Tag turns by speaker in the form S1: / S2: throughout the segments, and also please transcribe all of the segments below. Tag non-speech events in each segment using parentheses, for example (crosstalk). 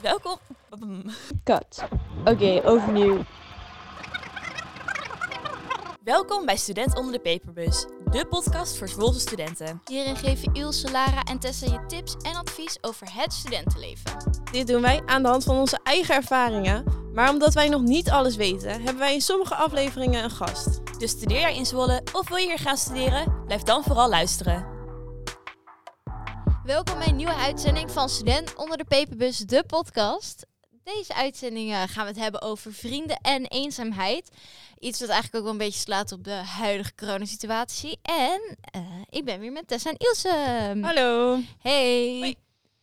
S1: Welkom.
S2: Cut. Oké, overnieuw.
S1: Welkom bij Student onder de Paperbus, de podcast voor Zwolse studenten.
S3: Hierin geven Ilse, Lara en Tessa je tips en advies over het studentenleven.
S4: Dit doen wij aan de hand van onze eigen ervaringen. Maar omdat wij nog niet alles weten, hebben wij in sommige afleveringen een gast.
S1: Dus studeer jij in Zwolle of wil je hier gaan studeren? Blijf dan vooral luisteren.
S3: Welkom bij een nieuwe uitzending van Student onder de Peperbus, de podcast. Deze uitzendingen gaan we het hebben over vrienden en eenzaamheid. Iets wat eigenlijk ook wel een beetje slaat op de huidige coronasituatie. En eh, ik ben weer met Tessa en Ilse.
S4: Hallo.
S3: Hey.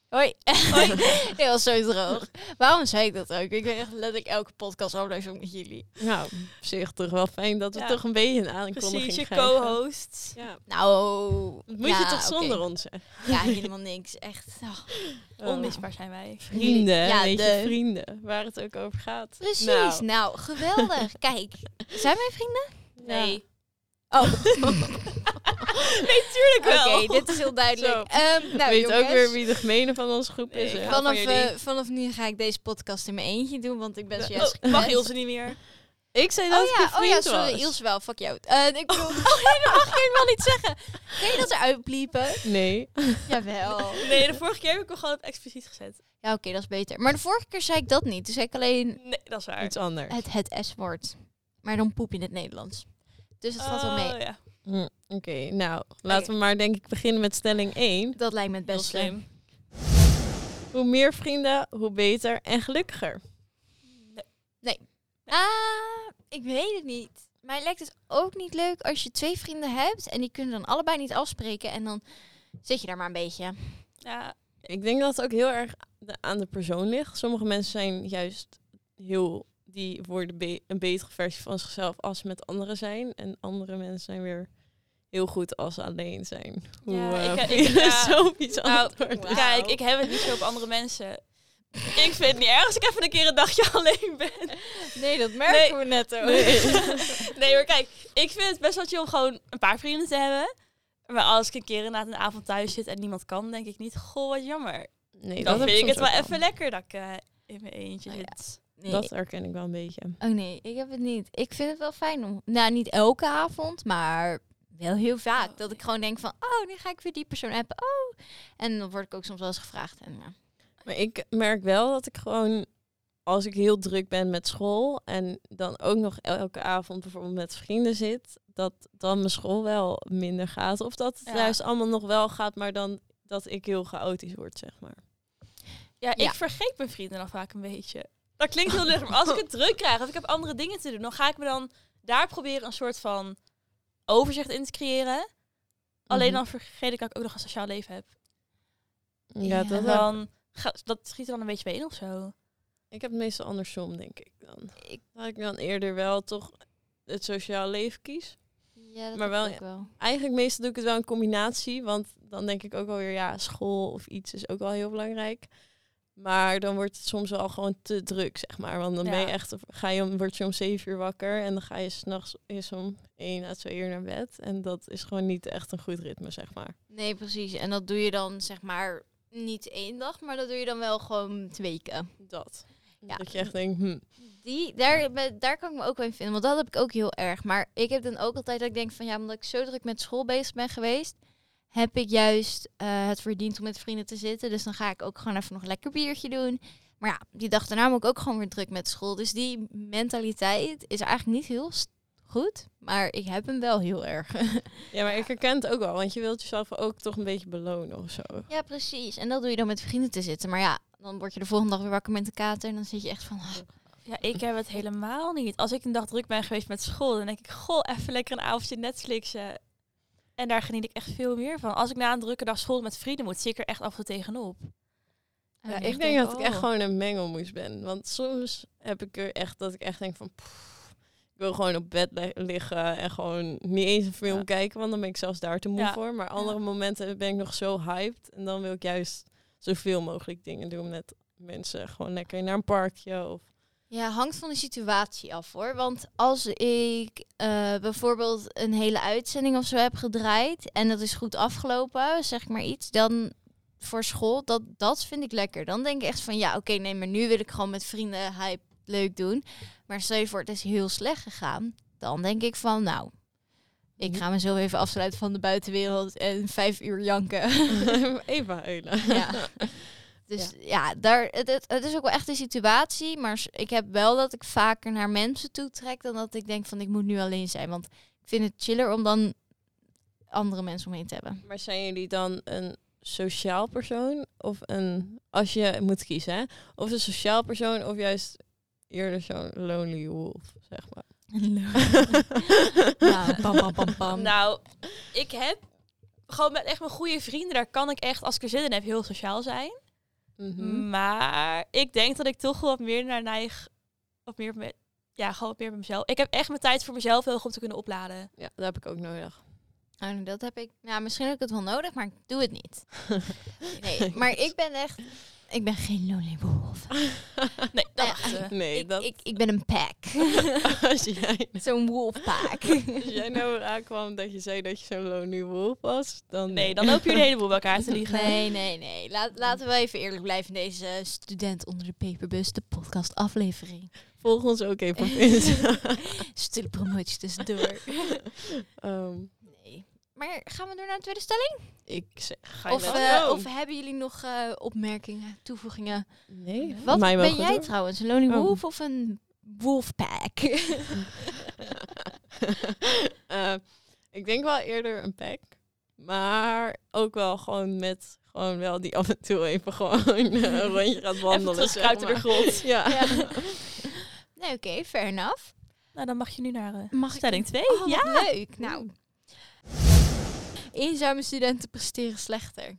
S1: Hoi.
S3: Hoi. (laughs) Heel zo droog. Waarom zei ik dat ook? Ik weet echt letterlijk elke podcast aflevering met jullie.
S4: Nou, op zich toch wel fijn dat we
S1: Ja.
S4: toch een beetje een aankondiging
S1: Precies, je
S4: krijgen.
S1: co-host.
S4: Ja.
S3: Nou.
S4: Dat moet je
S3: ja,
S4: toch
S3: oké.
S4: zonder ons zeggen.
S3: Ja, helemaal niks. Echt. Oh.
S4: Oh.
S1: Onmisbaar zijn wij.
S4: Vrienden,
S3: Ja,
S4: weet je,
S3: de-
S4: vrienden. Waar het ook over gaat.
S3: Precies, nou,
S4: Nou.
S3: geweldig. Kijk, zijn wij vrienden?
S1: Nee.
S3: Oh,
S1: Tuurlijk
S3: oké, dit is heel
S4: Zo.
S3: duidelijk. Ehm, nou,
S4: weet
S3: jongens,
S4: ook weer wie de gemene van onze groep is.
S1: Nee,
S4: hè?
S1: ik ga-
S3: Vanaf,
S1: van jullie.
S3: eh, vanaf nu ga ik deze podcast in mijn eentje doen, want ik ben zojuist
S1: Oh,
S3: gekwetst.
S1: mag Ilse niet meer?
S4: Ik zei dat
S3: Oh
S4: ik je
S3: ja, oh
S4: vriend
S3: ja, sorry,
S4: was.
S3: Iels wel, fuck jou. Eh, ik bedoel, (laughs) oh, nee, dat mag je helemaal niet zeggen. Kun je dat eruit bliepen?
S4: Nee.
S3: Jawel.
S1: Nee, de vorige keer heb ik hem gewoon op expliciet gezet.
S3: Ja, oké, dat is beter. Maar de vorige keer zei ik dat niet, toen zei ik alleen
S1: Nee, dat is waar.
S4: Iets anders.
S3: het, het S-woord. Maar dan poep je in het Nederlands. Dus dat valt wel mee.
S1: Oh, ja.
S4: Hm, Oké, nou, laten we maar denk ik beginnen met stelling 1.
S3: Dat lijkt me het
S1: Heel
S3: beste.
S1: slim.
S4: Hoe meer vrienden, hoe beter en gelukkiger.
S3: Ah, ik weet het niet. Mij lijkt het ook niet leuk als je twee vrienden hebt en die kunnen dan allebei niet afspreken en dan zit je daar maar een beetje.
S1: Ja,
S4: Ik denk dat het ook heel erg de- aan de persoon ligt. Sommige mensen zijn juist heel... Die worden be- een betere versie van zichzelf als ze met anderen zijn. En andere mensen zijn weer heel goed als ze alleen zijn. Hoe
S1: Ja, ik-
S4: eh, (laughs)
S1: ik- ja.
S4: filosofisch
S1: Nou,
S4: antwoord.
S3: Wauw.
S1: Kijk, ik heb het niet zo op andere mensen. Ik vind het niet erg als ik even een keer een dagje (laughs) alleen ben.
S3: Nee, dat
S1: merken
S3: we net ook.
S1: (laughs) Nee. nee, maar kijk, ik vind het best wel chill om gewoon een paar vrienden te hebben. Maar als ik een keer inderdaad een avond thuis zit en niemand kan, denk ik niet, goh, wat jammer.
S4: Nee,
S1: Dan vind
S4: heb
S1: ik
S4: soms
S1: het wel
S4: ook
S1: even lekker dat ik eh, in mijn eentje
S3: Oh ja.
S1: zit.
S4: Dat herken ik wel een beetje.
S3: Oh nee, ik heb het niet. Ik vind het wel fijn om, nou niet elke avond, maar wel heel vaak.
S1: Oh,
S3: dat
S1: nee.
S3: ik gewoon denk van, oh, nu ga ik weer die persoon appen. Oh, en dan word ik ook soms wel eens gevraagd. En, ja.
S4: Maar ik merk wel dat ik gewoon, als ik heel druk ben met school en dan ook nog elke avond bijvoorbeeld met vrienden zit, dat dan mijn school wel minder gaat. Of dat het
S1: Ja.
S4: juist allemaal nog wel gaat, maar dan dat ik heel chaotisch word, zeg maar.
S1: Ja, ik
S3: Ja.
S1: vergeet mijn vrienden dan vaak een beetje. Dat klinkt heel luchtig, maar als ik (laughs) het druk krijg of ik heb andere dingen te doen, dan ga ik me dan daar proberen een soort van overzicht in te creëren. Alleen
S4: Mhm.
S1: dan vergeet ik dat ik ook nog een sociaal leven heb.
S4: Ja, dat
S3: Ja.
S1: En
S4: wel.
S1: dan ga- dat schiet er dan een beetje bij in of zo.
S4: Ik heb het meestal andersom, denk ik dan.
S3: Ik-
S4: Dat ik dan eerder wel toch het sociaal leven kies.
S3: ja, dat
S4: Maar
S3: maar
S4: wel-
S3: wel, ook wel.
S4: Eigenlijk meestal doe ik het wel in combinatie, want dan denk ik ook wel weer, ja, school of iets is ook wel heel belangrijk. Maar dan wordt het soms wel gewoon te druk, zeg maar. Want dan ben je
S1: Ja.
S4: echt, ga je, om- word je om zeven uur wakker en dan ga je s'nachts is om één à twee uur naar bed. En dat is gewoon niet echt een goed ritme, zeg maar.
S3: Nee, precies. En dat doe je dan zeg maar niet één dag, maar dat doe je dan wel gewoon twee weken.
S4: Dat.
S3: Ja.
S4: Dat je echt denkt, hm,
S3: Die, daar, ben- daar kan ik me ook wel in vinden, want dat heb ik ook heel erg. Maar ik heb dan ook altijd dat ik denk van ja, omdat ik zo druk met school bezig ben geweest, heb ik juist eh, het verdiend om met vrienden te zitten. Dus dan ga ik ook gewoon even nog een lekker biertje doen. Maar ja, die dag daarna moet ik ook gewoon weer druk met school. Dus die mentaliteit is eigenlijk niet heel s- goed, maar ik heb hem wel heel erg. (laughs)
S4: ja, maar ik herken het ook wel, want je wilt jezelf ook toch een beetje belonen of zo.
S3: Ja, precies. En dat doe je dan met vrienden te zitten. Maar ja, dan word je de volgende dag weer wakker met een kater. En dan zit je echt van... ah,
S1: Ja, ik heb het helemaal niet. Als ik een dag druk ben geweest met school, dan denk ik, goh, even lekker een avondje Netflixen. En daar geniet ik echt veel meer van. Als ik na een drukke dag school met vrienden moet, zie ik er echt af en toe tegenop.
S4: Ja,
S3: oké.
S4: ik denk dat ik echt
S1: oh.
S4: gewoon een mengelmoes ben. Want soms heb ik er echt dat ik echt denk van. pff, ik wil gewoon op bed li- liggen en gewoon niet eens een film
S1: Ja.
S4: kijken, want dan ben ik zelfs daar te moe
S1: Ja.
S4: voor. Maar andere momenten ben ik nog zo hyped en dan wil ik juist zoveel mogelijk dingen doen met mensen. Gewoon lekker naar een parkje
S1: (laughs)
S4: of (laughs)
S3: Ja, hangt van de situatie af hoor. Want als ik eh, bijvoorbeeld een hele uitzending of zo heb gedraaid en dat is goed afgelopen, zeg ik maar iets, dan voor school, dat, dat vind ik lekker. Dan denk ik echt van ja, oké, nee, maar nu wil ik gewoon met vrienden hype leuk doen. Maar stel je voor, het is heel slecht gegaan. Dan denk ik van nou, ik ga me zo even afsluiten van de buitenwereld en vijf uur janken.
S4: (laughs)
S3: (laughs)
S4: Eva Eulen.
S3: Ja. (laughs) Dus ja, daar, het, het, het is ook wel echt een situatie. Maar s- ik heb wel dat ik vaker naar mensen toe trek dan dat ik denk van ik moet nu alleen zijn. Want ik vind het chiller om dan andere mensen omheen te hebben.
S4: (laughs) Maar zijn jullie dan een sociaal persoon of een als je moet kiezen, hè? of een sociaal persoon of juist eerder zo'n lonely wolf, zeg maar.
S3: Oh, ja, pam, pam, pam, pam.
S1: (laughs) Nou, ik heb gewoon met echt mijn goede vrienden, daar kan ik echt, als ik er zin in heb, heel sociaal zijn.
S4: (laughs) Mhm.
S3: Mm.
S1: Maar ik denk dat ik toch wel wat meer naar neig, wat meer met, ja, gewoon wat meer met mezelf. Ik heb echt mijn tijd voor mezelf heel erg om te kunnen opladen.
S4: Ja, dat heb ik ook
S3: (laughs)
S4: nodig.
S3: Nou, dat heb ik. Nou, misschien heb ik het wel nodig, maar ik doe het
S4: (laughs)
S3: niet. Nee, maar ik ben echt. Ik ben geen lonely wolf.
S1: Nee, dat
S3: Ah, Ja.
S1: dachten we.
S4: (laughs) Nee,
S3: ik,
S4: dat
S3: ik, ik ben een pack.
S4: (laughs) als jij
S3: Zo'n wolfpack.
S4: als (laughs) jij
S3: (laughs)
S4: nou aankwam dat je zei dat je zo'n lonely wolf was, dan
S1: Nee, dan loop je een heleboel bij elkaar te liegen.
S3: Nee, nee, nee. Laat, laten we even eerlijk blijven in deze Student onder de Paperbus, de podcast aflevering.
S4: (laughs) volg ons ook even
S3: (laughs)
S4: op Insta.
S3: Stille promotie tussendoor.
S4: Ehm,
S3: Nee. Maar gaan we door naar de tweede stelling?
S4: ik zeg
S1: Ga je
S3: Of,
S1: wel.
S3: eh,
S4: Oh.
S3: of hebben jullie nog eh, opmerkingen, toevoegingen?
S4: nee.
S3: Wat
S4: Hm. mij wel
S3: ben
S4: goed,
S3: jij
S4: hoor.
S3: trouwens? Een lonely
S4: Oh.
S3: wolf of een wolfpack?
S4: (laughs) Eh, ik denk wel eerder een pack. Maar ook wel gewoon met gewoon wel die af en toe even gewoon
S1: (laughs)
S4: een rondje gaat
S1: Even
S4: wandelen. zeg
S1: terugkruipen door de
S4: maar.
S1: grond.
S4: Ja.
S3: nee, oké, fair enough.
S1: Nou, dan mag je nu naar eh,
S3: Mag ik
S1: stelling 2.
S3: Oh, wat
S1: ja.
S3: leuk. Nou. Eenzame studenten presteren slechter.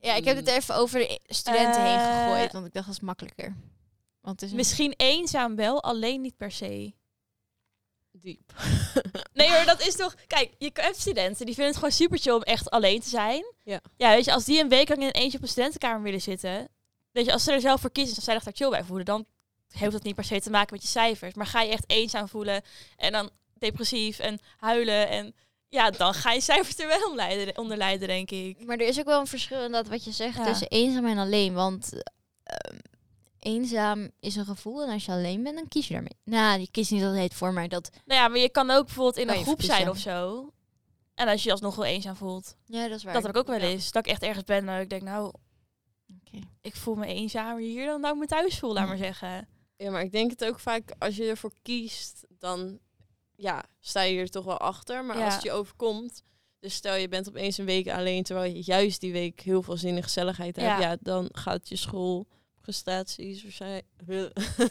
S3: Ja, ik heb het er even over de studenten heen
S1: Eh.
S3: gegooid, want ik dacht dat is makkelijker. Want het is een-
S1: Misschien eenzaam wel, alleen niet per se.
S4: Diep.
S1: Nee hoor, dat is toch... Kijk, je hebt studenten, die vinden het gewoon super chill om echt alleen te zijn.
S4: Ja.
S1: Ja, weet je, als die een week lang in eentje op een studentenkamer willen zitten... Weet je, als ze er zelf voor kiezen of zij zich daar chill bij voelen... dan heeft dat niet per se te maken met je cijfers. Maar ga je echt eenzaam voelen en dan depressief en huilen en... Ja, dan ga je cijfers er wel om leiden- onder lijden, denk ik.
S3: Maar er is ook wel een verschil in dat wat je zegt
S1: Ja.
S3: tussen eenzaam en alleen. Want ehm, eenzaam is een gevoel en als je alleen bent, dan kies je daarmee. Nou, je kiest niet altijd voor, maar dat...
S1: Nou ja, maar je kan ook bijvoorbeeld in
S3: Kan
S1: een
S3: je
S1: groep zijn of
S3: verkiezen.
S1: zo. En als je je alsnog wel eenzaam voelt.
S3: Ja, dat is waar.
S1: Dat heb ik ook wel
S3: Ja.
S1: eens. Dat ik echt ergens ben en ik denk, nou...
S3: Oké.
S1: Ik voel me eenzamer hier dan dat ik me thuis voel, laat maar zeggen.
S4: Ja, maar ik denk het ook vaak als je ervoor kiest, dan ja, sta je er toch wel achter. Maar
S1: Ja.
S4: als het je overkomt, dus stel je bent opeens een week alleen, terwijl je juist die week heel veel zin in gezelligheid hebt,
S1: Ja.
S4: ja, dan gaat je school prestaties waarschijnlijk... (laughs)
S1: (laughs)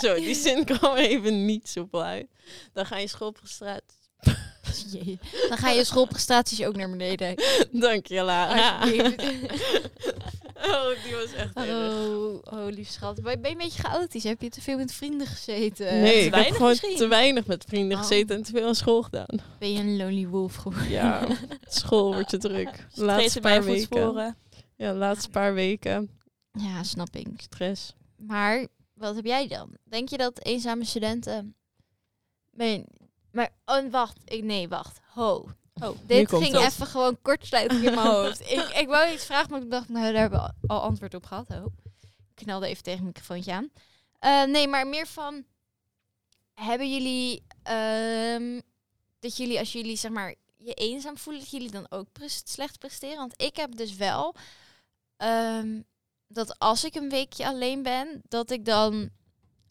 S4: Zo, die zin kwam even niet soepel uit. Dan gaan je schoolprestaties...
S3: (laughs)
S4: (laughs)
S3: Jee. Dan gaan je schoolprestaties ook naar beneden.
S4: Dank je, Lara.
S1: Ah,
S3: Alsjeblieft.
S4: (laughs) Oh, die was echt erg.
S3: Oh, oh lief schat. Ben ben je een beetje chaotisch? Heb je te veel met vrienden gezeten?
S4: Nee, ik heb
S1: weinig
S4: gewoon
S1: misschien.
S4: te weinig met vrienden
S3: Oh.
S4: gezeten en te veel aan school gedaan.
S3: Ben je een lonely wolf geworden?
S4: Ja, (laughs) school wordt te (laughs) druk.
S1: Steeds
S4: Laatste
S1: bij je
S4: paar
S1: voetsporen.
S4: weken. Ja, laatste paar weken.
S3: Ja, snap ik.
S4: Stress.
S3: Maar wat heb jij dan? Denk je dat eenzame studenten... Nee, maar... Oh, wacht. Ik, nee, wacht. Ho.
S1: Oh,
S3: Dit
S4: komt
S3: ging
S4: het.
S3: even gewoon kortsluiting in mijn hoofd. Ik, ik wou iets vragen, maar ik dacht, nou, daar hebben we al- al antwoord op gehad. Oh. Ik knalde even tegen het microfoontje aan. Eh, nee, maar meer van... Hebben jullie... ehm, dat jullie, als jullie zeg maar je eenzaam voelen, dat jullie dan ook pres- slecht presteren? Want ik heb dus wel... ehm, dat als ik een weekje alleen ben, dat ik dan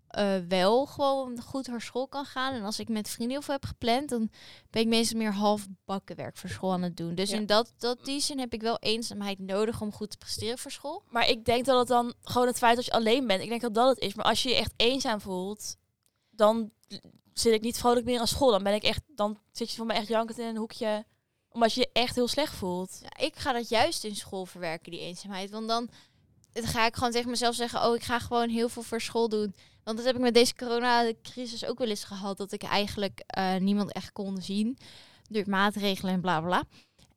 S3: eh, wel gewoon goed naar school kan gaan. En als ik met vrienden heel veel heb gepland, dan ben ik meestal meer half bakkenwerk voor school aan het doen. Dus
S4: Ja.
S3: in dat, dat die zin heb ik wel eenzaamheid nodig om goed te presteren voor school.
S1: Maar ik denk dat het dan gewoon het feit dat je alleen bent. Ik denk dat dat het is. Maar als je je echt eenzaam voelt, dan zit ik niet vrolijk meer aan school. Dan ben ik echt, dan zit je voor mij echt jankend in een hoekje. Omdat je je echt heel slecht voelt.
S3: Ja, ik ga dat juist in school verwerken, die eenzaamheid. Want dan dan ga ik gewoon tegen mezelf zeggen, oh, ik ga gewoon heel veel voor school doen. Want dat heb ik met deze coronacrisis ook wel eens gehad. Dat ik eigenlijk eh, niemand echt kon zien. Door maatregelen en bla bla. bla.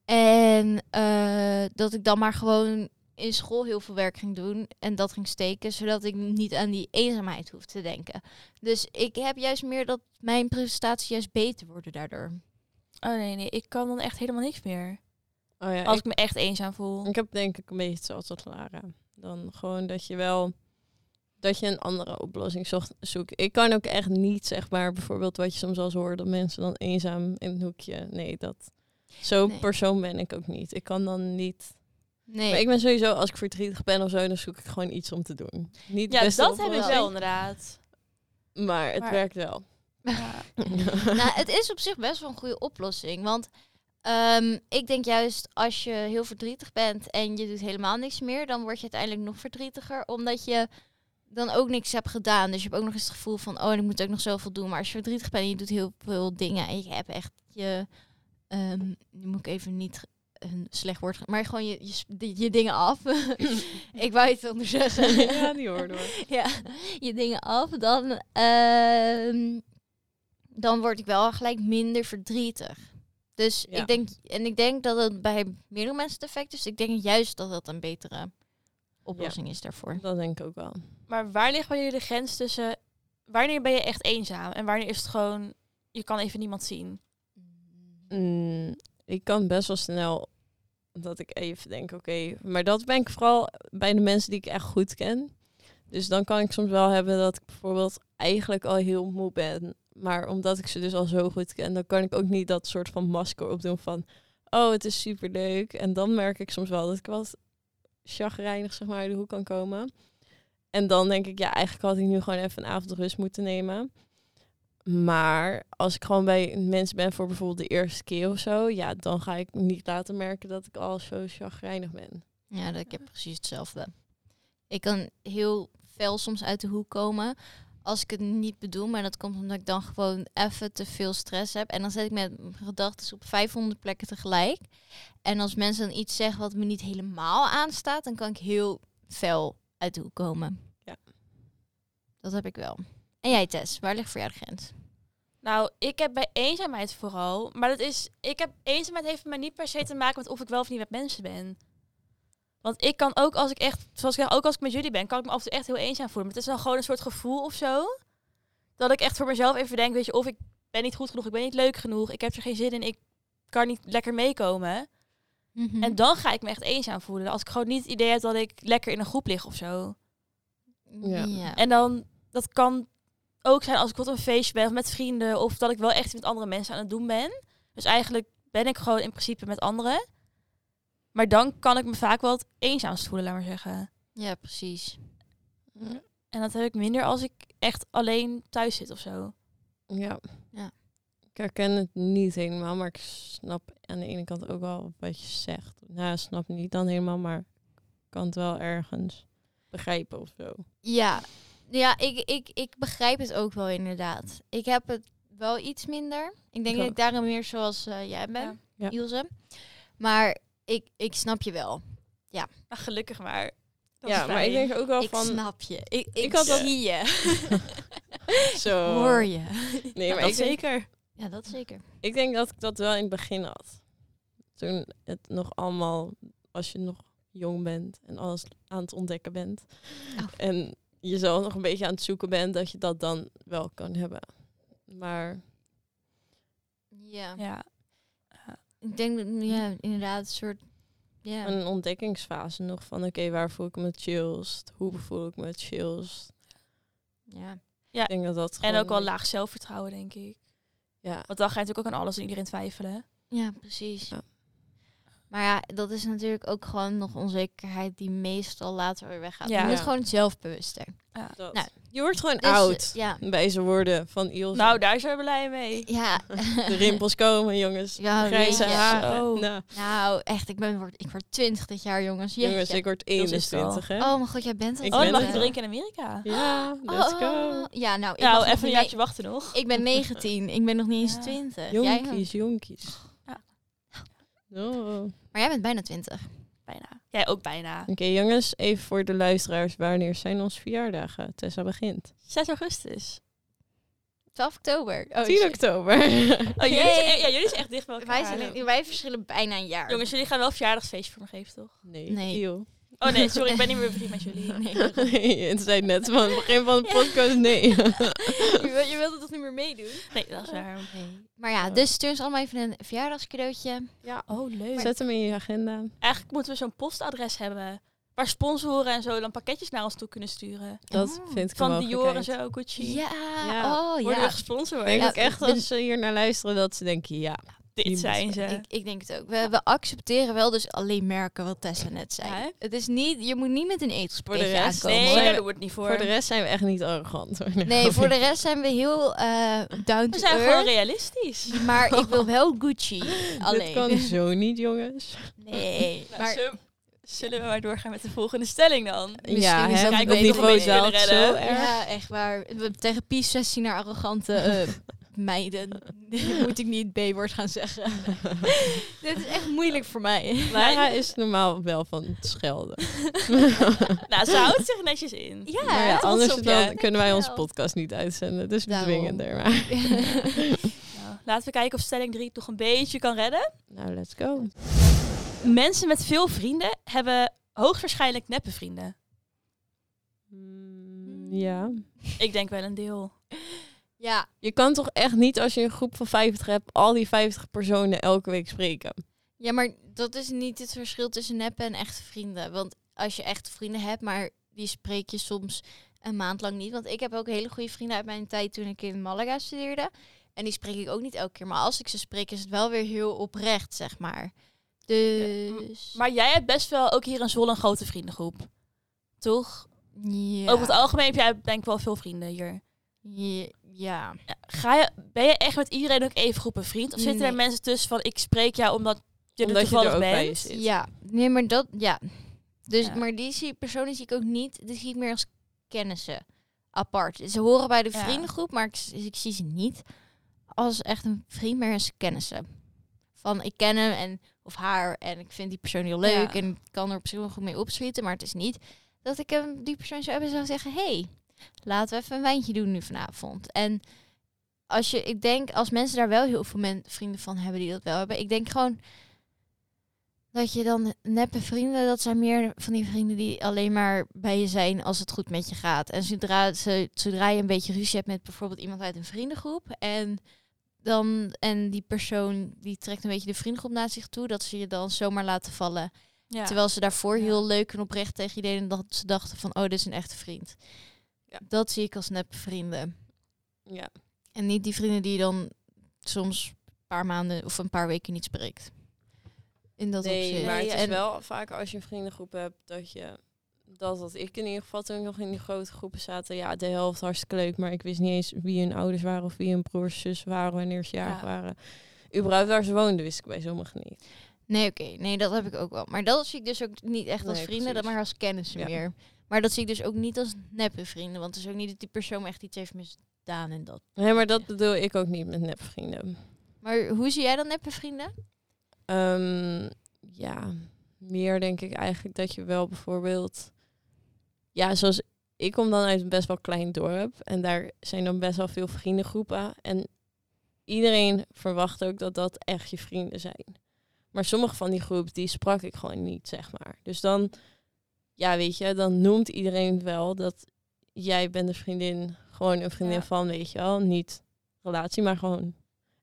S3: En eh, dat ik dan maar gewoon in school heel veel werk ging doen. En dat ging steken. Zodat ik niet aan die eenzaamheid hoef te denken. Dus ik heb juist meer dat mijn prestaties juist beter worden daardoor.
S1: Oh nee, nee, ik kan dan echt helemaal niks meer.
S4: Oh ja,
S1: Als
S4: ik,
S1: ik me echt eenzaam voel.
S4: ik heb denk ik een beetje hetzelfde als Lara. Dan gewoon dat je wel dat je een andere oplossing zocht, zoekt. Ik kan ook echt niet, zeg maar, bijvoorbeeld wat je soms al eens hoort, dat mensen dan eenzaam in een hoekje. Nee, dat zo'n
S3: Nee.
S4: persoon ben ik ook niet. Ik kan dan niet
S3: Nee.
S4: Maar ik ben sowieso, als ik verdrietig ben of zo, dan zoek ik gewoon iets om te doen. Niet
S1: Ja,
S4: best
S1: dat heb ik
S3: wel.
S1: wel inderdaad.
S4: Maar het
S1: Maar-
S4: werkt wel.
S1: Ja.
S3: (laughs) nou, het is op zich best wel een goede oplossing. Want ehm, ik denk juist als je heel verdrietig bent en je doet helemaal niks meer, dan word je uiteindelijk nog verdrietiger. Omdat je dan ook niks hebt gedaan. Dus je hebt ook nog eens het gevoel van, oh, en ik moet ook nog zoveel doen. Maar als je verdrietig bent en je doet heel veel dingen en je hebt echt je... ehm, nu moet ik even niet een slecht woord... ge- Maar gewoon je, je, sp- je dingen
S4: (laughs)
S3: af. (laughs) ik wou iets anders zeggen
S4: (laughs) ja, die (laughs) hoor door.
S3: (laughs) ja, je dingen af, dan, ehm, dan word ik wel gelijk minder verdrietig. Dus
S4: Ja.
S3: ik denk, en ik denk dat het bij meerdere mensen het effect is. Ik denk juist dat dat een betere oplossing is daarvoor.
S4: Dat denk ik ook wel.
S1: Maar waar ligt bij jullie de grens tussen... Wanneer ben je echt eenzaam? En wanneer is het gewoon... Je kan even niemand zien.
S4: Mm, ik kan best wel snel dat ik even denk, oké. Maar dat ben ik vooral bij de mensen die ik echt goed ken. Dus dan kan ik soms wel hebben dat ik bijvoorbeeld eigenlijk al heel moe ben. Maar omdat ik ze dus al zo goed ken, dan kan ik ook niet dat soort van masker opdoen van... Oh, het is superleuk. En dan merk ik soms wel dat ik wat chagrijnig zeg maar uit de hoek kan komen. En dan denk ik, ja, eigenlijk had ik nu gewoon even een avond rust moeten nemen. Maar als ik gewoon bij mensen ben voor bijvoorbeeld de eerste keer of zo, ja, dan ga ik niet laten merken dat ik al zo chagrijnig ben.
S3: Ja, dat ik heb precies hetzelfde. Ik kan heel fel soms uit de hoek komen als ik het niet bedoel. Maar dat komt omdat ik dan gewoon even te veel stress heb. En dan zet ik mijn gedachten op 500 plekken tegelijk. En als mensen dan iets zeggen wat me niet helemaal aanstaat, dan kan ik heel fel uit de hoek komen.
S4: Ja.
S3: Dat heb ik wel. En jij Tess, waar ligt voor jou de grens?
S1: Nou, ik heb bij eenzaamheid vooral. Maar dat is. Ik heb eenzaamheid heeft mij niet per se te maken met of ik wel of niet met mensen ben. Want ik kan ook als ik echt, zoals ik zeg, ook als ik met jullie ben, kan ik me af en toe echt heel eenzaam voelen. Maar het is dan gewoon een soort gevoel of zo. Dat ik echt voor mezelf even denk, weet je, of ik ben niet goed genoeg, ik ben niet leuk genoeg, ik heb er geen zin in, ik kan niet lekker meekomen. En dan ga ik me echt eenzaam voelen. Als ik gewoon niet het idee heb dat ik lekker in een groep lig of zo.
S4: Ja.
S1: En dan, dat kan ook zijn als ik wat een feestje ben of met vrienden. Of dat ik wel echt met andere mensen aan het doen ben. Dus eigenlijk ben ik gewoon in principe met anderen. Maar dan kan ik me vaak wel het eenzaamst voelen, laat maar zeggen.
S3: ja, precies.
S1: En dat heb ik minder als ik echt alleen thuis zit of zo.
S4: Ja.
S3: Ja.
S4: Ik herken het niet helemaal, maar ik snap aan de ene kant ook wel wat je zegt. Nou, ik snap niet dan helemaal, maar ik kan het wel ergens begrijpen of zo.
S3: Ja, ja ik, ik, ik begrijp het ook wel inderdaad. Ik heb het wel iets minder. Ik denk
S4: Ik
S3: dat
S4: ook.
S3: ik daarom meer zoals eh, jij bent,
S4: Ja. Ja.
S3: Ilse. Maar ik, ik snap je wel.
S1: Maar Ah, gelukkig maar. Dat is
S4: ja, maar
S1: fijn.
S4: ik denk ook wel
S3: ik
S4: van
S3: snap je. Ik, ik,
S4: had Oh. dat-
S3: zie je.
S4: zo.
S3: Hoor je.
S4: Nee,
S1: Ja,
S4: maar
S1: dat
S4: ik denk-
S1: zeker.
S3: Ja, dat zeker.
S4: Ik denk dat ik dat wel in het begin had. Toen het nog allemaal, als je nog jong bent en alles aan het ontdekken bent.
S3: Oh.
S4: En jezelf nog een beetje aan het zoeken bent, dat je dat dan wel kan hebben. Maar
S3: Ja.
S1: Ja.
S3: Ik denk dat, ja, inderdaad, een soort... Ja.
S4: een ontdekkingsfase nog van, oké, waar voel ik me het chillst? Hoe voel ik me het chillst?
S3: ja.
S4: Ik denk dat dat
S1: En
S4: gewoon-
S1: ook wel laag zelfvertrouwen, denk ik.
S4: Ja,
S1: Want dan ga je natuurlijk ook aan alles en iedereen twijfelen.
S3: Ja, precies.
S4: Ja.
S3: Maar ja, dat is natuurlijk ook gewoon nog onzekerheid die meestal later weer weggaat.
S1: Ja.
S3: Je moet
S4: Ja.
S3: gewoon zelfbewuster.
S4: dat.
S3: Nou,
S4: je wordt gewoon
S3: Dus, eh,
S4: oud
S3: Ja.
S4: bij zijn woorden van Ilse.
S1: Nou, daar zijn we blij mee.
S3: Ja.
S4: (laughs) de rimpels komen, jongens.
S3: Ja, Oh,
S4: Grijze
S3: jeetje.
S4: haren.
S1: Zo.
S4: Nou,
S3: Nou, echt, ik, ben, word, ik word 20 dit jaar, jongens. Jeetje.
S4: jongens, ik word
S1: is het al.
S4: 21, hè?
S3: Oh mijn god, jij bent al
S4: Ik
S1: oh, dan
S4: ben
S1: mag
S4: er.
S1: je
S3: twintig.
S1: drinken in Amerika.
S4: Ja,
S3: Oh,
S4: let's
S3: oh,
S4: go.
S3: oh. Ja, nou, ik,
S1: nou,
S3: was nog
S1: even een
S3: niet-
S1: jaartje wachten nog.
S3: ik ben 19. Ik ben nog niet eens
S1: Ja.
S3: 20. Jij,
S4: Jonkies, jonkies.
S1: Ja.
S4: Oh. Oké,
S3: maar jij bent bijna 20.
S1: Bijna. Jij ook bijna.
S4: jongens, even voor de luisteraars. Wanneer zijn onze verjaardagen? Tessa begint.
S1: 6 augustus.
S3: 12 oktober. Oh,
S4: 10
S3: shit. (laughs)
S4: oktober.
S1: Oh, jullie,
S3: Yay.
S1: zijn, ja, jullie zijn echt dicht bij elkaar.
S3: Wij, zijn, wij verschillen bijna een jaar.
S1: Jongens, jullie gaan wel een verjaardagsfeestje voor me geven, toch?
S4: nee,
S3: Nee.
S4: eeuw.
S1: Oh nee, sorry, ik ben niet meer bevriend met jullie.
S3: (laughs)
S4: (laughs)
S3: Nee.
S4: het zei net van het begin van de podcast, nee.
S3: Je, wil- je wilde toch niet meer meedoen?
S1: Nee, dat is waar.
S3: Maar ja, dus stuur ons allemaal even een verjaardagscadeautje.
S1: Oh, leuk.
S4: Zet hem in je agenda.
S1: Eigenlijk moeten we zo'n postadres hebben. Waar sponsoren en zo dan pakketjes naar ons toe kunnen sturen.
S4: Dat
S3: Oh.
S4: vind ik
S1: Van
S4: een
S1: Dior en
S4: mogelijkheid.
S1: zo, Gucci.
S3: Ja,
S4: Ja.
S3: oh
S1: Worden
S3: ja.
S1: we gesponsord?
S4: Denk
S3: Ja,
S4: ik echt
S3: dit-
S4: als ze hier naar luisteren dat ze denken, ja.
S1: Dit
S4: Niemand.
S1: zijn ze.
S3: Ik, ik denk het ook. We, we accepteren wel dus alleen merken wat Tessa net zei.
S1: Ja, hè?
S3: het is niet, je moet niet met een
S4: Voor de
S3: etelspotje
S4: rest,
S3: aankomen.
S1: nee,
S4: Zijn
S1: daar
S4: we-
S1: doen we het niet voor.
S4: Voor de rest zijn we echt niet arrogant. hoor.
S3: Nee, voor de rest zijn we heel eh down
S1: we
S3: to
S1: zijn gewoon
S3: earth.
S1: realistisch.
S3: Maar ik wil wel
S4: (laughs)
S3: Gucci.
S4: Dit
S3: Alleen.
S4: kan zo niet, jongens.
S1: (laughs)
S3: Nee.
S1: Nou,
S3: maar
S1: zullen- zullen we maar doorgaan met de volgende stelling dan?
S4: ja,
S3: is
S4: hè,
S3: het
S1: Kijk,
S4: dat
S1: weet nog
S4: niveau
S1: een
S4: is
S1: beetje
S4: wel
S1: kunnen
S4: zo
S1: redden.
S4: erg.
S3: ja, echt waar. We- Tegen Pies 16 naar arrogante eh, meiden. Moet ik niet het B-woord gaan zeggen. Dit is echt moeilijk voor mij.
S4: Lara is normaal wel van het schelden.
S1: nou, ze houdt zich netjes in.
S3: Ja,
S4: maar ja,
S1: trots
S4: anders
S1: op je.
S4: dan kunnen wij onze
S3: Dankjewel.
S4: podcast niet uitzenden. Dus
S3: Daarom.
S4: bedwingender. Maar.
S1: Nou, laten we kijken of stelling 3 toch een beetje kan redden.
S4: Nou, let's go.
S1: Mensen met veel vrienden hebben hoogstwaarschijnlijk neppe vrienden.
S4: Mm, Ja.
S1: Ik denk wel een deel.
S3: (laughs) ja,
S4: Je kan toch echt niet als je een groep van 50 hebt, al die 50 personen elke week spreken.
S3: Ja, maar dat is niet het verschil tussen neppen en echte vrienden. Want als je echte vrienden hebt, maar die spreek je soms een maand lang niet. Want ik heb ook hele goede vrienden uit mijn tijd toen ik in Malaga studeerde. En die spreek ik ook niet elke keer. Maar als ik ze spreek, is het wel weer heel oprecht, zeg maar. Dus...
S1: Maar jij hebt best wel ook hier in Zwolle een grote vriendengroep. Toch?
S3: ja.
S1: Over het algemeen heb jij denk ik wel veel vrienden hier.
S3: Ja, ja.
S1: Ja, Ga je, ben je echt met iedereen ook even goed bevriend? Of zitten
S3: Nee.
S1: er mensen tussen van ik spreek jou omdat je
S4: Omdat
S1: er
S4: je
S1: toevallig
S4: er ook bij
S1: bent?
S4: zit.
S3: Ja. Nee, maar dat... Ja. Dus,
S1: Ja.
S3: Maar die zie, personen zie ik ook niet. Die zie ik meer als kennissen. Apart. Ze horen bij de
S1: Ja.
S3: vriendengroep, maar ik, z- ik zie ze niet als echt een vriend, maar als kennissen. Van ik ken hem en, of haar en ik vind die persoon heel leuk
S1: Ja.
S3: en ik kan er op zich wel goed mee opschieten, maar het is niet dat ik hem, die persoon zou hebben en zou zeggen, hey, laten we even een wijntje doen nu vanavond. En als je, ik denk, als mensen daar wel heel veel men, vrienden van hebben die dat wel hebben, ik denk gewoon dat je dan neppe vrienden, dat zijn meer van die vrienden die alleen maar bij je zijn als het goed met je gaat. En zodra, ze, zodra je een beetje ruzie hebt met bijvoorbeeld iemand uit een vriendengroep en dan en die persoon die trekt een beetje de vriendengroep naar zich toe, dat ze je dan zomaar laten vallen.
S1: Ja.
S3: Terwijl ze daarvoor
S1: Ja.
S3: heel leuk en oprecht tegen je deden. Dat ze dachten van, oh, dit is een echte vriend.
S4: Ja.
S3: Dat zie ik als nep vrienden.
S4: Ja.
S3: En niet die vrienden die je dan soms een paar maanden of een paar weken niet spreekt. In dat opzicht.
S4: maar het is
S3: en,
S4: wel vaker als je een vriendengroep hebt dat je dat wat ik in ieder geval toen ik nog in die grote groepen zaten, ja, de helft hartstikke leuk, maar ik wist niet eens wie hun ouders waren of wie hun broers, zus waren, wanneer ze jarig
S1: Ja.
S4: waren. Überhaupt waar ze woonden wist ik bij sommigen niet.
S3: Nee, oké. Nee, dat heb ik ook wel. Maar dat zie ik dus ook niet echt als
S4: Nee,
S3: vrienden, dat
S4: precies.
S3: maar als kennissen
S4: Ja.
S3: meer. Maar dat zie ik dus ook niet als neppe vrienden. Want het is ook niet dat die persoon me echt iets heeft misdaan en dat.
S4: Nee, maar dat bedoel ik ook niet met nepvrienden.
S3: Maar hoe zie jij dan neppe vrienden?
S4: Ehm, ja, meer denk ik eigenlijk dat je wel bijvoorbeeld... Ja, zoals ik kom dan uit een best wel klein dorp. En daar zijn dan best wel veel vriendengroepen. En iedereen verwacht ook dat dat echt je vrienden zijn. Maar sommige van die groep, die sprak ik gewoon niet, zeg maar. Dus dan, ja, weet je, dan noemt iedereen wel dat jij bent een vriendin. Gewoon een vriendin
S1: Ja.
S4: van, weet je wel. Niet relatie, maar gewoon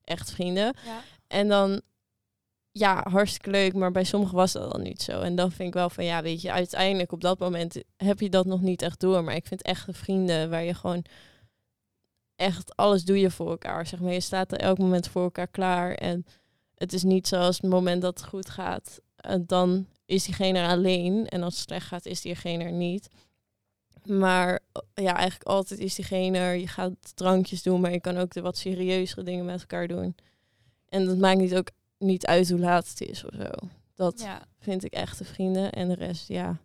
S4: echt vrienden.
S1: Ja.
S4: En dan, ja, hartstikke leuk, maar bij sommigen was dat dan niet zo. En dan vind ik wel van, ja, weet je, uiteindelijk op dat moment heb je dat nog niet echt door. Maar ik vind echte vrienden waar je gewoon echt alles doe je voor elkaar. Zeg maar, je staat er elk moment voor elkaar klaar. En het is niet zoals het moment dat het goed gaat, eh, dan is diegene er alleen. En als het slecht gaat, is diegene er niet. Maar eh, ja, eigenlijk altijd is diegene er. Je gaat drankjes doen, maar je kan ook de wat serieuzere dingen met elkaar doen. En dat maakt niet ook niet uit hoe laat het is of zo. Dat
S1: Ja.
S4: vind ik echte vrienden. En de rest, ja,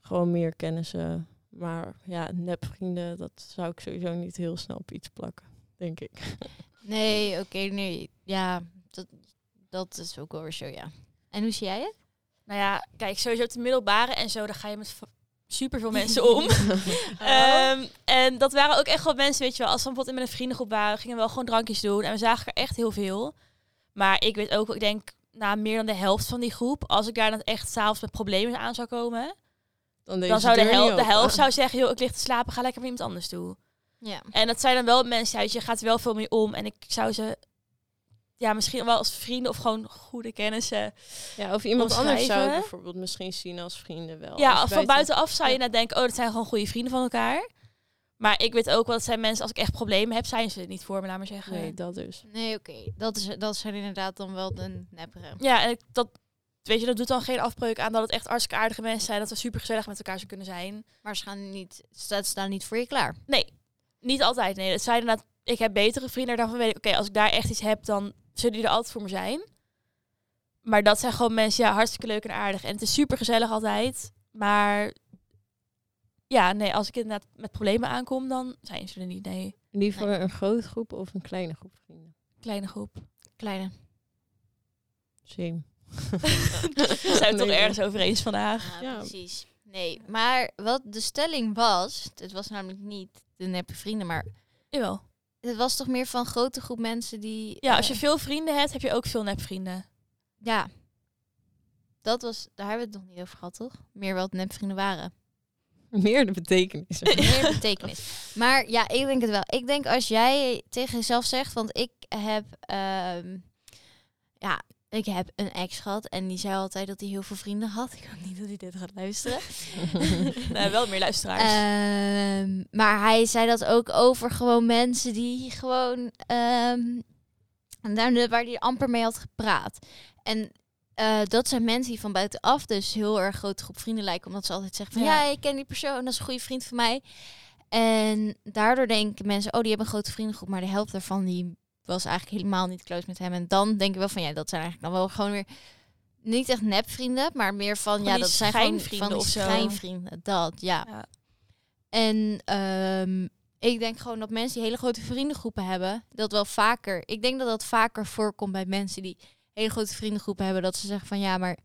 S4: gewoon meer kennissen. Maar ja, nepvrienden, dat zou ik sowieso niet heel snel op iets plakken, denk ik.
S3: Nee, oké, nee. Ja, dat, dat is ook wel weer zo, ja. En hoe zie jij het?
S1: Nou ja, kijk, sowieso op de middelbare en zo, daar ga je met v- superveel mensen om. Ehm, en dat waren ook echt wel mensen, weet je wel. Als we bijvoorbeeld in een vriendengroep waren, gingen we wel gewoon drankjes doen. En we zagen er echt heel veel. Maar ik weet ook, wel, ik denk na meer dan de helft van die groep, als ik daar dan echt s'avonds met problemen aan zou komen,
S4: Dan,
S1: dan zou de, hel- de helft zou zeggen, joh, ik lig te slapen, ga lekker met iemand anders toe.
S3: Ja.
S1: En dat zijn dan wel mensen uit, je gaat er wel veel mee om. En ik zou ze, ja, misschien wel als vrienden of gewoon goede kennissen.
S4: Ja, of iemand anders zou ik
S1: omschrijven.
S4: bijvoorbeeld misschien zien als vrienden wel.
S1: eh? ja,
S4: Als
S1: als van
S4: buiten-
S1: buitenaf zou je net denken, oh, dat zijn gewoon goede vrienden van elkaar. Maar ik weet ook wel, dat zijn mensen, als ik echt problemen heb, zijn ze er niet voor me, laat maar zeggen.
S4: Nee, dat dus.
S3: Nee, oké. Dat, is, dat zijn inderdaad dan wel de nepperen.
S1: Ja, en ik- dat, weet je, dat doet dan geen afbreuk aan dat het echt hartstikke aardige mensen zijn. Dat we super gezellig met elkaar zouden kunnen zijn.
S3: Maar ze, gaan niet, ze staan niet voor je klaar.
S1: Nee, niet altijd. Nee, het zijn inderdaad, ik heb betere vrienden. Daarvan weet ik, oké, als ik daar echt iets heb, dan zullen die er altijd voor me zijn. Maar dat zijn gewoon mensen, ja, hartstikke leuk en aardig. En het is super gezellig altijd. Maar ja, nee, als ik inderdaad met problemen aankom, dan zijn ze er niet. Nee,
S4: Liever een grote groep of een kleine groep vrienden.
S1: kleine groep.
S3: Kleine.
S1: (laughs)
S4: Same.
S1: Zijn (laughs) we het toch
S4: Nee.
S1: ergens over eens vandaag?
S3: Ja,
S4: Ja.
S3: precies. Nee, maar wat de stelling was, het was namelijk niet de neppe vrienden, maar
S1: Jawel.
S3: het was toch meer van een grote groep mensen die...
S1: Ja, als je
S3: eh,
S1: veel vrienden hebt, heb je ook veel (laughs) nepvrienden.
S3: ja. Dat was, daar hebben we het nog niet over gehad, toch? Meer wat nepvrienden waren.
S4: Meer de
S1: (laughs)
S4: betekenis.
S3: Meer betekenis. Maar ja, ik denk het wel. Ik denk als jij tegen jezelf zegt, want ik heb, ehm, ja, ik heb een ex gehad en die zei altijd dat hij heel veel vrienden had. (laughs) Ik hoop niet dat hij dit gaat luisteren.
S1: Nee, wel meer luisteraars.
S3: Ehm, maar hij zei dat ook over gewoon mensen die gewoon. ehm, daar nu- waar hij amper mee had gepraat. En eh, dat zijn mensen die van buitenaf dus heel erg grote groep vrienden lijken. Omdat ze altijd zeggen van ja,
S1: Ja.
S3: ik ken die persoon, dat is een goede vriend van mij. En daardoor denken mensen, oh, die hebben een grote vriendengroep. Maar de helft daarvan die was eigenlijk helemaal niet close met hem. En dan denk ik wel van ja, dat zijn eigenlijk dan wel gewoon weer. Niet echt nepvrienden, maar meer van,
S1: Van
S3: ja,
S1: die
S3: dat zijn gewoon van
S1: schijnvrienden
S3: die
S1: of zo.
S3: schijnvrienden. Dat, ja.
S1: Ja.
S3: En ehm, ik denk gewoon dat mensen die hele grote vriendengroepen hebben, dat wel vaker. Ik denk dat dat vaker voorkomt bij mensen die hele grote vriendengroepen hebben, dat ze zeggen van ja, maar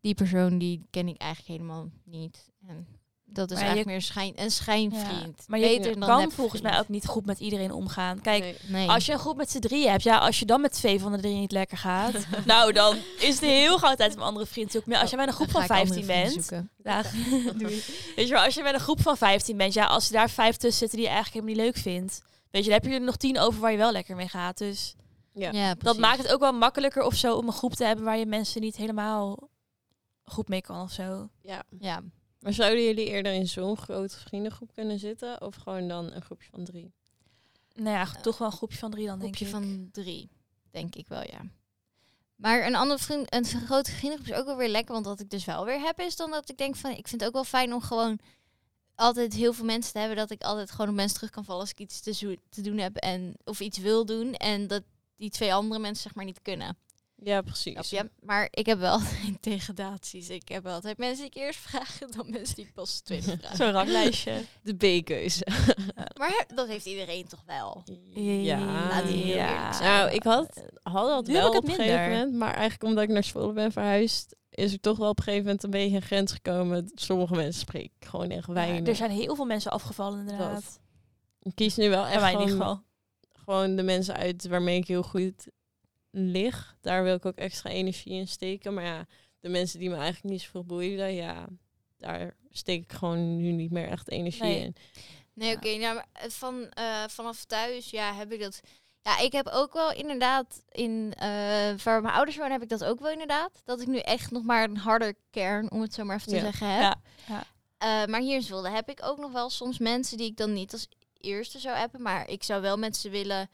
S3: die persoon die ken ik eigenlijk helemaal niet. En dat is
S1: Maar je-
S3: eigenlijk meer schijn, een schijnvriend.
S1: Maar je
S3: Beter dan
S1: kan
S3: nepvriend.
S1: volgens mij ook niet goed met iedereen omgaan. Kijk,
S3: Nee.
S1: als je een groep met z'n drieën hebt, ja, als je dan met twee van de drie niet lekker gaat, (laughs) nou dan is het heel gauw tijd om een andere vriend te zoeken. Maar als je met een groep
S3: Oh, Dan
S1: van
S3: ga ik andere
S1: 15
S3: vrienden
S1: bent,
S3: zoeken.
S1: Dag. Weet je wel, als je met een groep van 15 bent, ja, als er daar vijf tussen zitten die je eigenlijk helemaal niet leuk vindt, weet je, dan heb je er nog tien over waar je wel lekker mee gaat. Dus
S4: Ja.
S3: Ja,
S1: dat
S3: precies.
S1: maakt het ook wel makkelijker of zo om een groep te hebben waar je mensen niet helemaal goed mee kan of zo.
S4: ja.
S3: Ja.
S4: Maar zouden jullie eerder in zo'n grote vriendengroep kunnen zitten? Of gewoon dan een groepje van drie?
S1: Nou ja, toch wel een groepje van drie dan, denk
S3: groepje
S1: ik.
S3: van drie, denk ik wel, ja. Maar een andere vriend, een grote vriendengroep is ook wel weer lekker. Want wat ik dus wel weer heb, is dan dat ik denk van... Ik vind het ook wel fijn om gewoon altijd heel veel mensen te hebben. Dat ik altijd gewoon op mensen terug kan vallen als ik iets te, zo- te doen heb. En, of iets wil doen. En dat die twee andere mensen zeg maar niet kunnen.
S4: Ja, precies.
S3: Snap je? Maar ik heb wel (laughs) altijd degradaties. Ik heb wel altijd mensen die ik eerst vraag. en Dan mensen die ik pas tweede (laughs) vraag.
S1: Zo'n (laughs) ranglijstje.
S4: De B-keuze.
S3: Maar he- dat heeft iedereen toch wel.
S4: Ja.
S3: Laten we Ah, heel
S1: Ja.
S3: eerlijk zijn.
S4: Nou, ik had, had dat
S1: Nu heb
S4: wel
S1: ik het
S4: op een gegeven
S1: minder.
S4: moment. Maar eigenlijk omdat ik naar Zwolle ben verhuisd... is er toch wel op een gegeven moment een beetje een grens gekomen. Sommige mensen spreek ik gewoon echt weinig.
S1: er zijn heel veel mensen afgevallen inderdaad.
S4: Ik kies nu wel
S1: En
S4: echt
S1: wij in
S4: gewoon,
S1: ieder geval.
S4: gewoon de mensen uit waarmee ik heel goed lig. Daar wil ik ook extra energie in steken. Maar ja, de mensen die me eigenlijk niet zoveel boeiden... ja, daar steek ik gewoon nu niet meer echt energie
S1: Nee.
S4: in.
S3: Nee,
S1: Ja.
S3: oké. nou, maar, eh, van, eh, vanaf thuis, ja, heb ik dat. Ja, ik heb ook wel inderdaad in eh, waar mijn ouders wonen, heb ik dat ook wel inderdaad. Dat ik nu echt nog maar een harder kern, om het zo maar even te
S4: Ja.
S3: zeggen, heb.
S1: Ja, ja.
S3: Eh, maar hier in Zwolle heb ik ook nog wel soms mensen die ik dan niet als eerste zou appen, maar ik zou wel met ze willen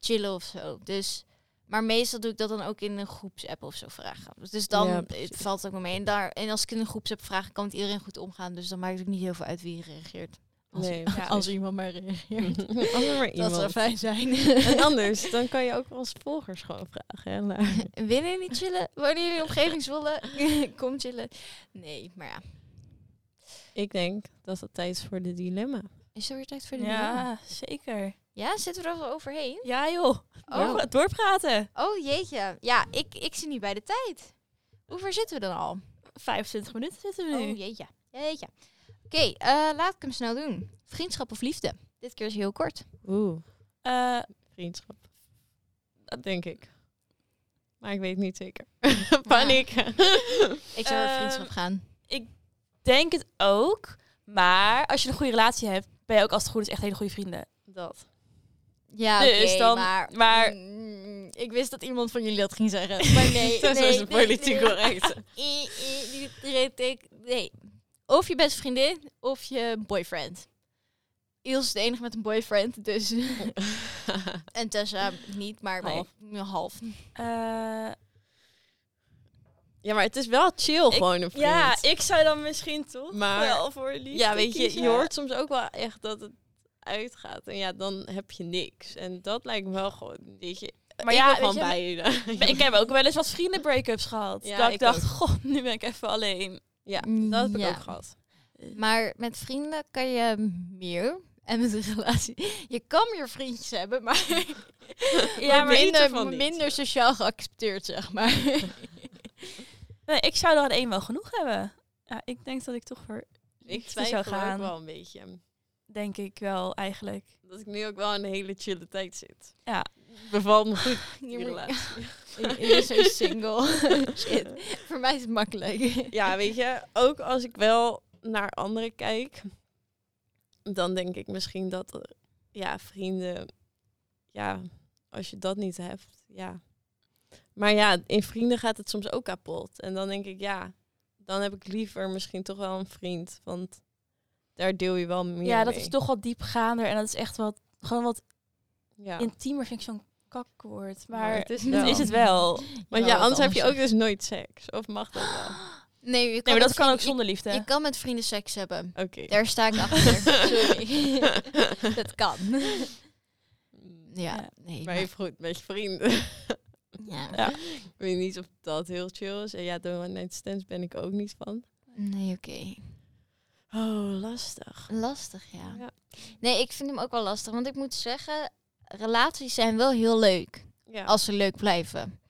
S3: chillen of zo. Dus, maar meestal doe ik dat dan ook in een groepsapp of zo vragen. Dus dan
S4: Ja,
S3: eh,
S4: precies.
S3: valt het ook wel mee. En, daar, en als ik in een groepsapp vraag, kan het iedereen goed omgaan. Dus dan maakt het ook niet heel veel uit wie reageert. Als-
S4: (laughs) Nee,
S3: (laughs) als iemand maar (laughs) reageert.
S4: precies. Als er maar
S3: Dat zou
S4: iemand...
S3: fijn (laughs) zijn.
S4: En anders, dan kan je ook als volgers gewoon vragen. Hè? (laughs) Lara?
S3: Willen jullie chillen? Wonen jullie in de omgeving Zwolle? (laughs) Kom chillen. Nee, maar ja.
S4: Ik denk dat het tijd is voor de dilemma.
S3: Is er weer tijd voor de nieuwe?
S1: Ja, zeker.
S3: Ja, zitten we er wel overheen?
S1: Ja joh,
S3: Oh,
S1: oh. doorpraten.
S3: oh jeetje. Ja, ik, ik zie niet bij de tijd. Hoe ver zitten we dan al?
S1: 25 minuten zitten we nu.
S3: Oh jeetje. Jeetje. Oké, eh, laat ik hem snel doen. Vriendschap of liefde? Dit keer is heel (laughs) kort.
S4: Oeh.
S1: Eh,
S4: Vriendschap. Dat denk ik. Maar ik weet het niet zeker. (laughs) eh, Paniek. (laughs)
S3: Ik zou naar
S1: Ehm,
S3: vriendschap gaan.
S1: Denk het ook. Maar als je een goede relatie hebt, ben je ook als het goed is echt hele goede vrienden.
S4: Dat.
S3: Ja,
S1: dus
S3: oké,
S1: dan-
S3: maar...
S1: maar-
S3: Mm, ik wist dat iemand van (laughs) jullie dat ging zeggen. Maar
S4: (laughs)
S3: nee,
S4: Dat
S3: nee,
S4: is een
S3: nee,
S4: politiek
S3: nee.
S4: correct.
S3: I- I- die- die reed ik- Nee. Of je beste vriendin, of je boyfriend. Iels is de enige met een boyfriend, dus... en Tessa niet, maar wij-
S4: Half.
S3: ja, half.
S1: Eh,
S4: (laughs) ja, maar het is wel chill gewoon een vriend.
S1: ja, ik zou dan misschien toch
S4: Maar-
S1: wel voor liefde
S4: Ja, weet je,
S1: kiezen.
S4: je hoort soms ook wel echt dat het uitgaat. En ja, dan heb je niks. En dat lijkt me wel gewoon, weet je...
S1: Maar
S4: ik
S1: ja,
S4: wil
S1: weet
S4: gewoon
S1: je,
S4: bij (laughs) je.
S1: Maar Ik heb ook wel eens wat vrienden break-ups gehad.
S4: Ja,
S1: dat ik,
S4: ik
S1: dacht, god, nu ben ik even alleen.
S4: Ja, dat heb ik
S3: Ja.
S4: ook gehad.
S3: Maar met vrienden kan je meer. En met een relatie. Je kan meer vriendjes hebben, maar,
S1: Ja, maar
S4: beter
S3: minder,
S4: van niet.
S3: minder sociaal geaccepteerd, zeg maar.
S1: Nee, ik zou er aan één wel genoeg hebben. Ja, ik denk dat ik toch voor
S4: Ik
S1: liefde zou
S4: twijfel ook
S1: gaan.
S4: wel een beetje.
S1: Denk ik wel, eigenlijk.
S4: Dat ik nu ook wel in een hele chille tijd zit.
S1: Ja.
S4: Bevalt me goed,
S3: Je
S4: die
S3: moet-
S4: relatie.
S1: (laughs)
S3: Ik ik ben zo single.
S4: (laughs)
S3: Shit. (laughs) Voor mij is het makkelijk.
S4: Ja, weet je, ook als ik wel naar anderen kijk, dan denk ik misschien dat, er- ja, vrienden, ja, als je dat niet hebt, ja. Maar ja, in vrienden gaat het soms ook kapot. En dan denk ik, ja, dan heb ik liever misschien toch wel een vriend, want daar deel je wel meer
S1: Ja, dat
S4: mee.
S1: is toch wat diepgaander. En dat is echt wat, gewoon wat
S4: Ja.
S1: intiemer, vind ik zo'n kakwoord. Maar,
S4: Maar
S1: het
S4: het
S1: (laughs) is,
S4: is wel.
S1: het wel.
S4: Want
S3: Ja,
S4: ja,
S3: wat
S4: anders heb je
S3: anders.
S4: ook dus nooit seks. Of mag dat wel?
S3: Nee, je
S1: Nee,
S3: kan
S1: maar dat
S3: met
S1: kan ook
S3: vrienden-
S1: zonder Oh, liefde.
S3: je- Je kan met vrienden seks hebben.
S4: Oké.
S3: Daar sta ik
S1: (laughs)
S3: achter. Sorry. dat kan.
S1: Ja.
S3: Ja, nee.
S4: Maar
S3: maar-
S4: even goed, met je vrienden. (laughs)
S3: ja.
S1: Ja.
S4: Ik weet niet of dat heel chill is. En ja, de one night stands ben ik ook niet van.
S3: Nee, oké.
S4: Oh, lastig.
S3: Lastig, ja.
S4: Ja.
S3: Nee, ik vind hem ook wel lastig. Want ik moet zeggen, relaties zijn wel heel leuk.
S4: Ja. (laughs)
S3: Als ze leuk blijven.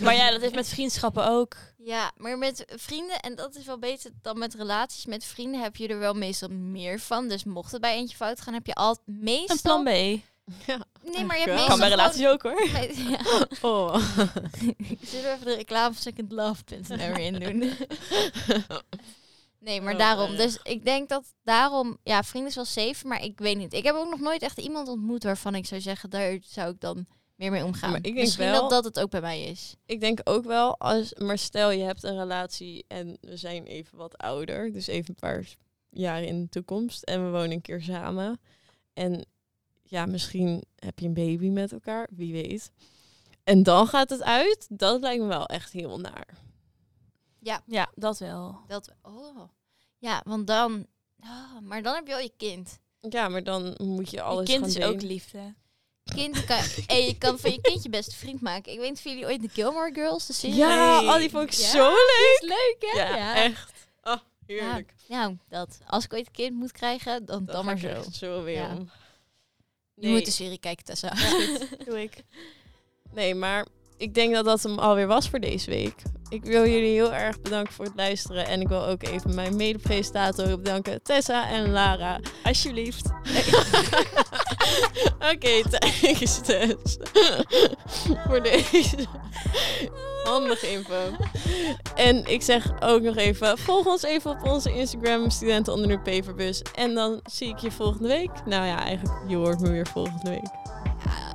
S1: Maar ja, dat is met vriendschappen ook.
S3: Ja, maar met vrienden, en dat is wel beter dan met relaties. Met vrienden heb je er wel meestal meer van. Dus mocht het bij eentje fout gaan, heb je altijd meestal...
S1: Een plan B.
S3: Nee, maar je hebt
S4: Ja.
S1: Kan
S3: meestal
S1: bij
S3: gewoon-
S1: relaties ook hoor.
S3: Nee, (laughs) ja.
S4: Oh.
S3: Zullen we even de reclame van Second Love Prince er weer in doen? (laughs) Nee, maar
S4: Oh,
S3: daarom.
S4: erg.
S3: Dus ik denk dat daarom... Ja, vrienden is wel safe, maar ik weet niet. Ik heb ook nog nooit echt iemand ontmoet waarvan ik zou zeggen... daar zou ik dan meer mee omgaan.
S4: Maar ik denk
S3: Misschien
S4: wel-
S3: dat dat het ook bij mij is.
S4: (laughs) ik denk ook wel, als, maar stel je hebt een relatie en we zijn even wat ouder. Dus even een paar jaar in de toekomst. En we wonen een keer samen. En ja, misschien heb je een baby met elkaar. Wie weet. En dan gaat het uit. Dat lijkt me wel echt heel naar.
S1: Ja, dat wel.
S3: Dat, oh. Ja, want dan... oh, maar dan heb je al je kind.
S4: Ja, maar dan moet je
S1: Je
S4: alles
S1: kind
S4: gaan
S1: is
S4: delen.
S1: ook liefde.
S4: (laughs)
S3: kind kan, en je kan van je kind je beste vriend maken. Ik weet niet of jullie ooit de Gilmore Girls, de serie...
S4: Ja,
S1: Nee.
S4: al die vond ik
S3: Ja,
S4: zo leuk.
S3: is leuk, hè?
S4: Ja, echt. Oh, heerlijk.
S3: Nou, dat. Als ik ooit een kind moet krijgen, dan, dan,
S4: Dat
S3: maar
S4: ga ik
S3: zo.
S4: echt zo weer
S3: Ja.
S4: om.
S3: Je moet de serie kijken, Tessa.
S4: (laughs)
S1: Doe ik.
S4: Nee, maar ik denk dat dat hem alweer was voor deze week. Ik wil jullie heel erg bedanken voor het luisteren. En ik wil ook even mijn medepresentatoren bedanken. Tessa en Lara.
S1: Alsjeblieft.
S4: (laughs) Oké, thanks (laughs) Tess. voor deze handige info. En ik zeg ook nog even, volg ons even op onze Instagram, studenten onder de paperbus. En dan zie ik je volgende week. Nou ja, eigenlijk, je hoort me weer volgende week.
S3: uh,